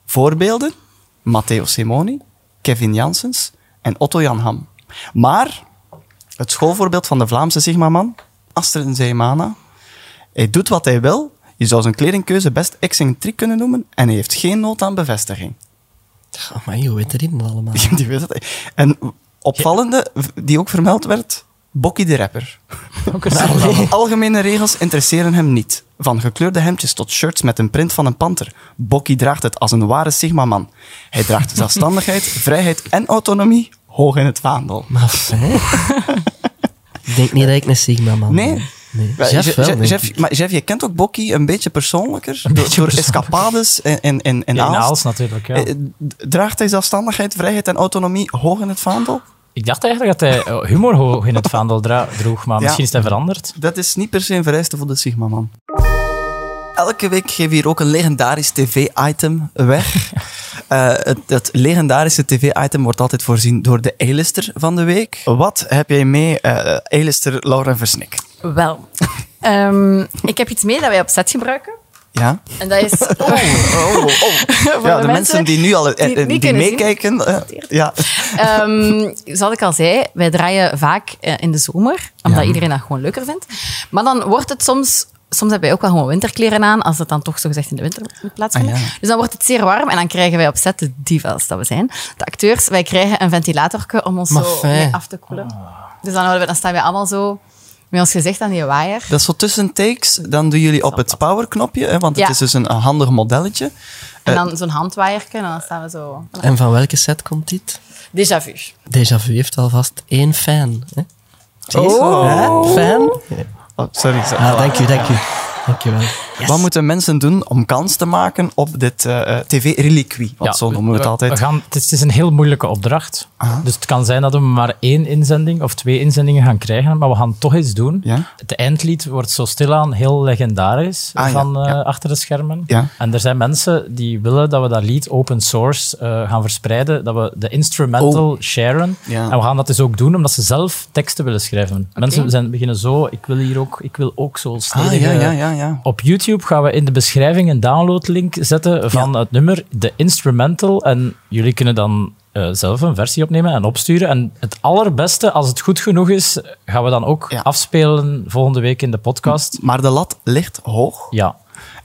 Voorbeelden? Matteo Simoni, Kevin Janssens en Otto Jan Ham. Maar het schoolvoorbeeld van de Vlaamse Sigma-man, Astrid Zeemana. Hij doet wat hij wil. Je zou zijn kledingkeuze best excentriek kunnen noemen. En hij heeft geen nood aan bevestiging.
Oh, man, hoe weet erin allemaal?
Die weet het. En opvallende, die ook vermeld werd, Bokkie de Rapper.
Ook een Sigma-man.
Algemene regels interesseren hem niet. Van gekleurde hemdjes tot shirts met een print van een panter. Bokkie draagt het als een ware Sigma-man. Hij draagt zelfstandigheid, vrijheid en autonomie hoog in het vaandel.
Maar fijn. ik denk niet dat ik een Sigma man
Nee.
ben. nee.
Ja,
Jeff
Je-
wel,
Je-
denk
Jeff-
ik.
maar Jeff, je kent ook Bokkie een beetje persoonlijker. door
persoonlijker.
door escapades en, en, en, en
Ja, in
Aalst.
Aalst natuurlijk, ja.
Eh, d- Draagt hij zelfstandigheid, vrijheid en autonomie hoog in het vaandel?
Ik dacht eigenlijk dat hij eh, humor hoog in het vaandel dra- droeg, maar
Ja.
misschien is dat veranderd.
Dat is niet per se een vereiste voor de Sigma-man. Elke week geven we hier ook een legendarisch tv-item weg. Eh, het, het legendarische tv-item wordt altijd voorzien door de A-lister van de week. Wat heb jij mee, eh A-lister Lauren Versnik?
Wel, Ehm, ik heb iets mee dat wij op set gebruiken.
Ja?
En dat is...
Oh, oh. ja, de
Voor
mensen, die nu al eh,
die
eh,
niet
die,
kunnen zien.
meekijken. eh, ja.
Ehm, zoals ik al zei, wij draaien vaak eh, in de zomer, omdat iedereen dat gewoon leuker vindt. Maar dan wordt het soms... Soms hebben wij ook wel gewoon winterkleren aan, als het dan toch zogezegd in de winter moet plaatsvinden.
Ah, ja.
Dus dan wordt het zeer warm en dan krijgen wij op set de divas dat we zijn. De acteurs, wij krijgen een ventilatorke om ons
Maar
zo
fijn.
mee af te koelen. Dus dan, houden we, dan staan wij allemaal zo met ons gezicht aan die waaier.
Dat is zo tussen takes. Dan doen jullie op het powerknopje, hè, want het
Ja.
is dus een een handig modelletje.
En dan zo'n handwaaierke en dan staan we zo...
En van welke set komt dit?
Déjà vu.
Déjà vu heeft alvast één fan. Hè? Zie je?
Oh.
Hè? Fan?
Oh, sorry. sorry.
Ah, dank u, dank u. Dank u wel.
Wat moeten mensen doen om kans te maken op dit eh, eh, tv-reliquie? Want
Ja,
zo noemen we het altijd. Ah.
We gaan, het, is, het is een heel moeilijke opdracht. Dus het kan zijn dat we maar één inzending of twee inzendingen gaan krijgen, maar we gaan toch iets doen.
Ja.
Het eindlied wordt zo stilaan heel legendarisch
Ah, ja,
van eh,
ja.
achter de schermen.
Ja.
En er zijn mensen die willen dat we dat lied open source eh, gaan verspreiden, dat we de instrumental sharen.
Oh. Ja.
En we gaan dat dus ook doen, omdat ze zelf teksten willen schrijven. Mensen zijn, beginnen zo, ik wil hier ook, ik wil ook zo
Ah,
snedige
ja, ja, ja, ja.
op YouTube gaan we in de beschrijving een downloadlink zetten van het nummer, de instrumental. En jullie kunnen dan eh, zelf een versie opnemen en opsturen. En het allerbeste, als het goed genoeg is, gaan we dan ook
Ja.
afspelen volgende week in de podcast.
Maar de lat ligt hoog.
Ja.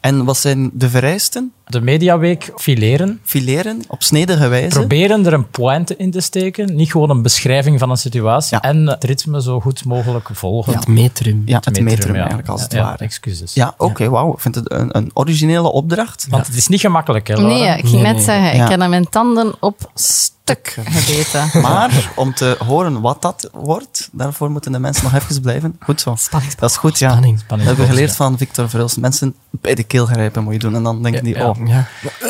En wat zijn de vereisten?
De mediaweek fileren.
Fileren op snedige wijze.
Proberen er een pointe in te steken. Niet gewoon een beschrijving van een situatie.
Ja.
En het ritme zo goed mogelijk volgen.
Het metrum.
ja, het metrum,
ja.
eigenlijk, als het
Ja, ja,
ware.
Excuses.
Ja, oké, wauw. Ik vind het een, een originele opdracht.
Want het is niet gemakkelijk, hè, Laura?
Nee, ik ging
Nee,
net
nee.
zeggen,
Ja.
ik heb dan mijn tanden op stuk gebeten.
Maar om te horen wat dat wordt, daarvoor moeten de mensen nog even blijven. Goed zo. Dat is goed, ja.
Spanning,
dat
spanning.
hebben we geleerd van Victor Verhulst. Mensen bij de keel grijpen moet je doen. En dan denken die,
ja.
oh,
Ja.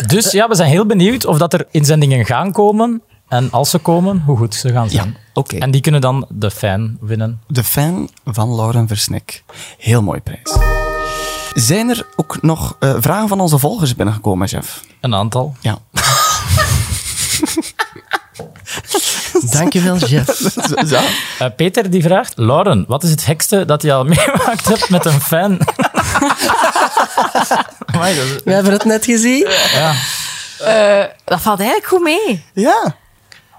Dus ja, we zijn heel benieuwd of dat er inzendingen gaan komen. En als ze komen, hoe goed ze gaan zijn.
Ja, oké.
En die kunnen dan de fan winnen.
de fan van Lauren Versnik. Heel mooi prijs. Zijn er ook nog eh, vragen van onze volgers binnengekomen, Jeff?
Een aantal.
Ja.
Dankjewel, Jeff.
ja.
Eh, Peter die vraagt, Lauren, wat is het hekste dat je al meemaakt hebt met een fan? Amai, dat is-
We hebben het net gezien.
dat valt eigenlijk goed mee.
ja.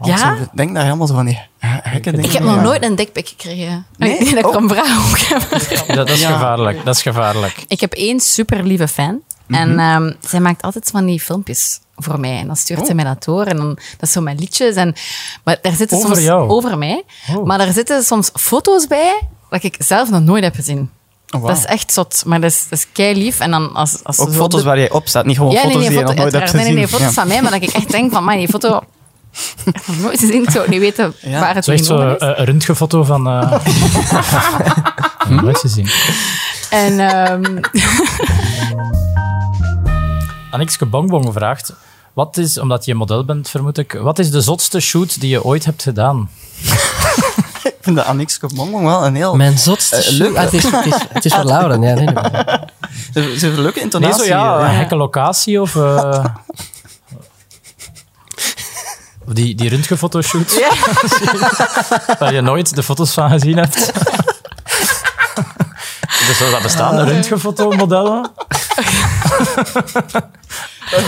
ja?
Ik denk daar helemaal zo van die gekke dingen.
Ik heb nog nooit een dikpik gekregen.
Nee?
Nee, dat
Oh.
kwam vragen ook.
dat, dat is
Ja.
gevaarlijk. Dat is gevaarlijk.
Ik heb één super lieve fan.
Mhm.
En ehm, zij maakt altijd van die filmpjes voor mij. En dan
Oh.
stuurt zij mij dat door. En dan, dat is zo mijn liedjes. En, maar daar zitten
Over
soms
jou?
over mij.
Oh.
Maar daar zitten soms foto's bij dat ik zelf nog nooit heb gezien.
Oh, wauw.
Dat is echt zot. Maar dat is, dat is kei lief. En dan als, als ze
Ook
zo op
foto's
de-
waar jij op staat, niet gewoon
ja,
foto's
nee, nee,
die
foto-
je nog nooit hebt
uiteraard.
gezien.
nee, nee, nee, foto's
Ja.
van mij. Maar dat ik echt denk van, man, die foto... Ik heb nog nooit gezien. Ik zou niet weten
Ja.
waar het
Zo echt zo'n
genomen is.
eh,
röntgenfoto röntgenfoto van... eh Ja, dat is te zien.
En ehm,
Anixke Bongbong vraagt, wat is, omdat je model bent vermoed ik, wat is de zotste shoot die je ooit hebt gedaan?
Ik vind de Anix Bongbong wel een heel...
Mijn zotste
Eh,
shoot-
leuk.
Ah, het, is, het, is, het is voor Lauren, ja. Nee, nee, nee.
Ze ze heeft een leuke
Nee,
intonatie.
zo ja,
eh,
een gekke locatie of... eh, of die, die röntgenfotoshoot. Waar je nooit de foto's van gezien hebt. Dus dat bestaan, röntgenfotomodellen.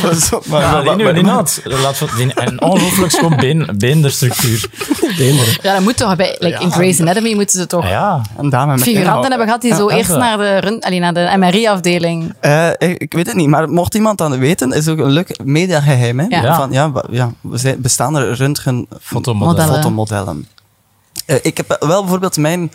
dat is ook- maar-
Ja,
maar-
die nu,
maar-
die naad. Laat van- die- Een ongelooflijk schoon been, beenderstructuur.
Beenderen.
ja, dat moet toch bij... Like, in Grey's Anatomy moeten ze toch...
Ah, ja.
Een dame met
figuranten
inhoud.
hebben gehad die zo
Ja,
eerst
dat.
naar de, run- allee, naar de MRI-afdeling.
Eh, ik, ik weet het niet, maar mocht iemand dat weten, is ook een leuk mediageheim. Hè?
Ja.
Van, ja, wa- ja, we zijn- bestaan er röntgen fotomodellen?
Modellen.
Eh, ik heb wel bijvoorbeeld mijn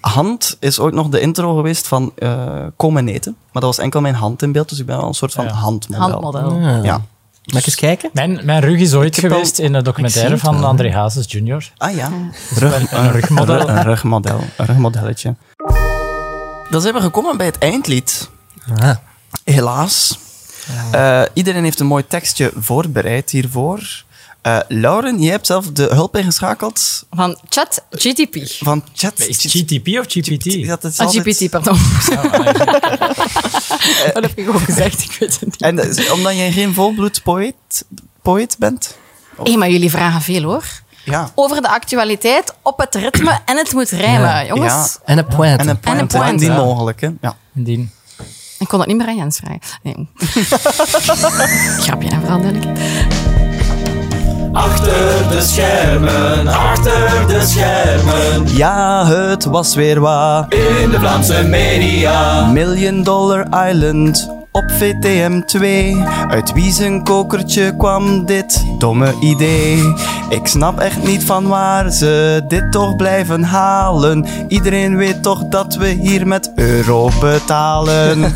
hand is ooit nog de intro geweest van eh Komen eten. Maar dat was enkel mijn hand in beeld, dus ik ben wel een soort van
Ja.
handmodel.
Handmodel.
Ah.
Ja.
Mag ik eens kijken?
Mijn, mijn rug is ooit
Ik heb al-
geweest in een documentaire
Ik zie
van
het wel.
André Hazes junior.
Ah ja, Rug,
een rugmodel.
Een rugmodel, een rugmodelletje. Dan zijn we gekomen bij het eindlied.
Ah.
Helaas. Eh, iedereen heeft een mooi tekstje voorbereid hiervoor. Eh, Lauren, jij hebt zelf de hulp ingeschakeld
Van chat GTP.
van chat.
Is het GTP of GPT?
Dat is
Ah,
altijd-
GPT, pardon. Dat heb ik ook gezegd, ik weet het niet.
En eh, omdat jij geen volbloed poëet, poëet bent?
Hé, maar jullie vragen veel, hoor.
Ja.
Over de actualiteit, op het ritme en het moet rijmen.
Ja.
Jongens,
En een pointe.
En een point,
point,
indien
ja.
mogelijk. Hè? Ja.
Indien.
ik kon dat niet meer aan Jens vragen. Nee. Grapje, en vooral duidelijk.
Ja, het was weer waar. In de Vlaamse media. Million Dollar Island op VTM2. Uit wie zijn kokertje kwam dit domme idee? Ik snap echt niet van waar ze dit toch blijven halen. Iedereen weet toch dat we hier met euro betalen.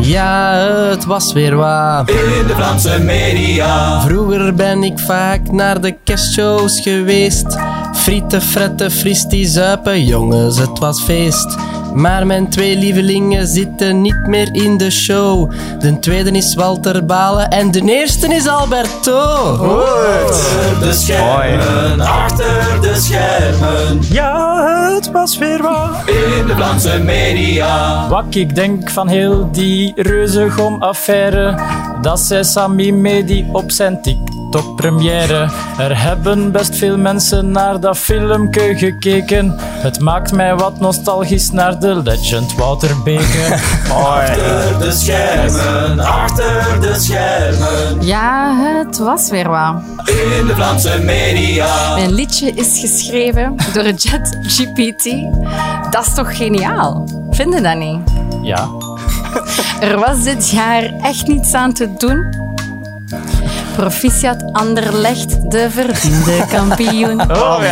Ja, het was weer waar. In de Vlaamse media. Vroeger ben ik vaak naar de kerstshows geweest. Frieten, fretten, fristie, zuipen, jongens, het was feest. Maar mijn twee lievelingen zitten niet meer in de show. De tweede is Walter Balen en de eerste is Alberto.
Mooi.
Ja, het was weer waar. In de Vlaamse media. Wat ik denk van heel die reuzegom-affaire. Dat zei Sami Medi op zijn TikTok-première. Er hebben best veel mensen naar dat filmpje gekeken. Het maakt mij wat nostalgisch naar de legend Wouter Beke.
Ja, het was weer waar. In de Vlaamse media. Mijn liedje is geschreven door chat GPT. Dat is toch geniaal? Vinden dat niet?
ja,
Er was dit jaar echt niets aan te doen. Proficiat Anderlecht, de verdiende kampioen.
Oh, mooi.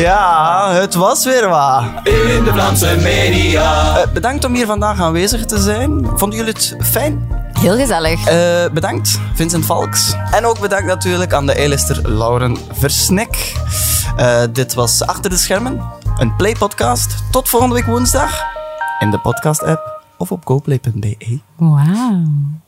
Ja, het was weer waar. In de Vlaamse media. bedankt om hier vandaag aanwezig te zijn. Vonden jullie het fijn?
Heel gezellig.
Eh, bedankt, Vincent Valks. En ook bedankt natuurlijk aan de eilister Lauren Versnik. Eh, dit was Achter de Schermen, een Play-podcast. Tot E. volgende week woensdag in de podcast-app of op goplay.be.
Wauw.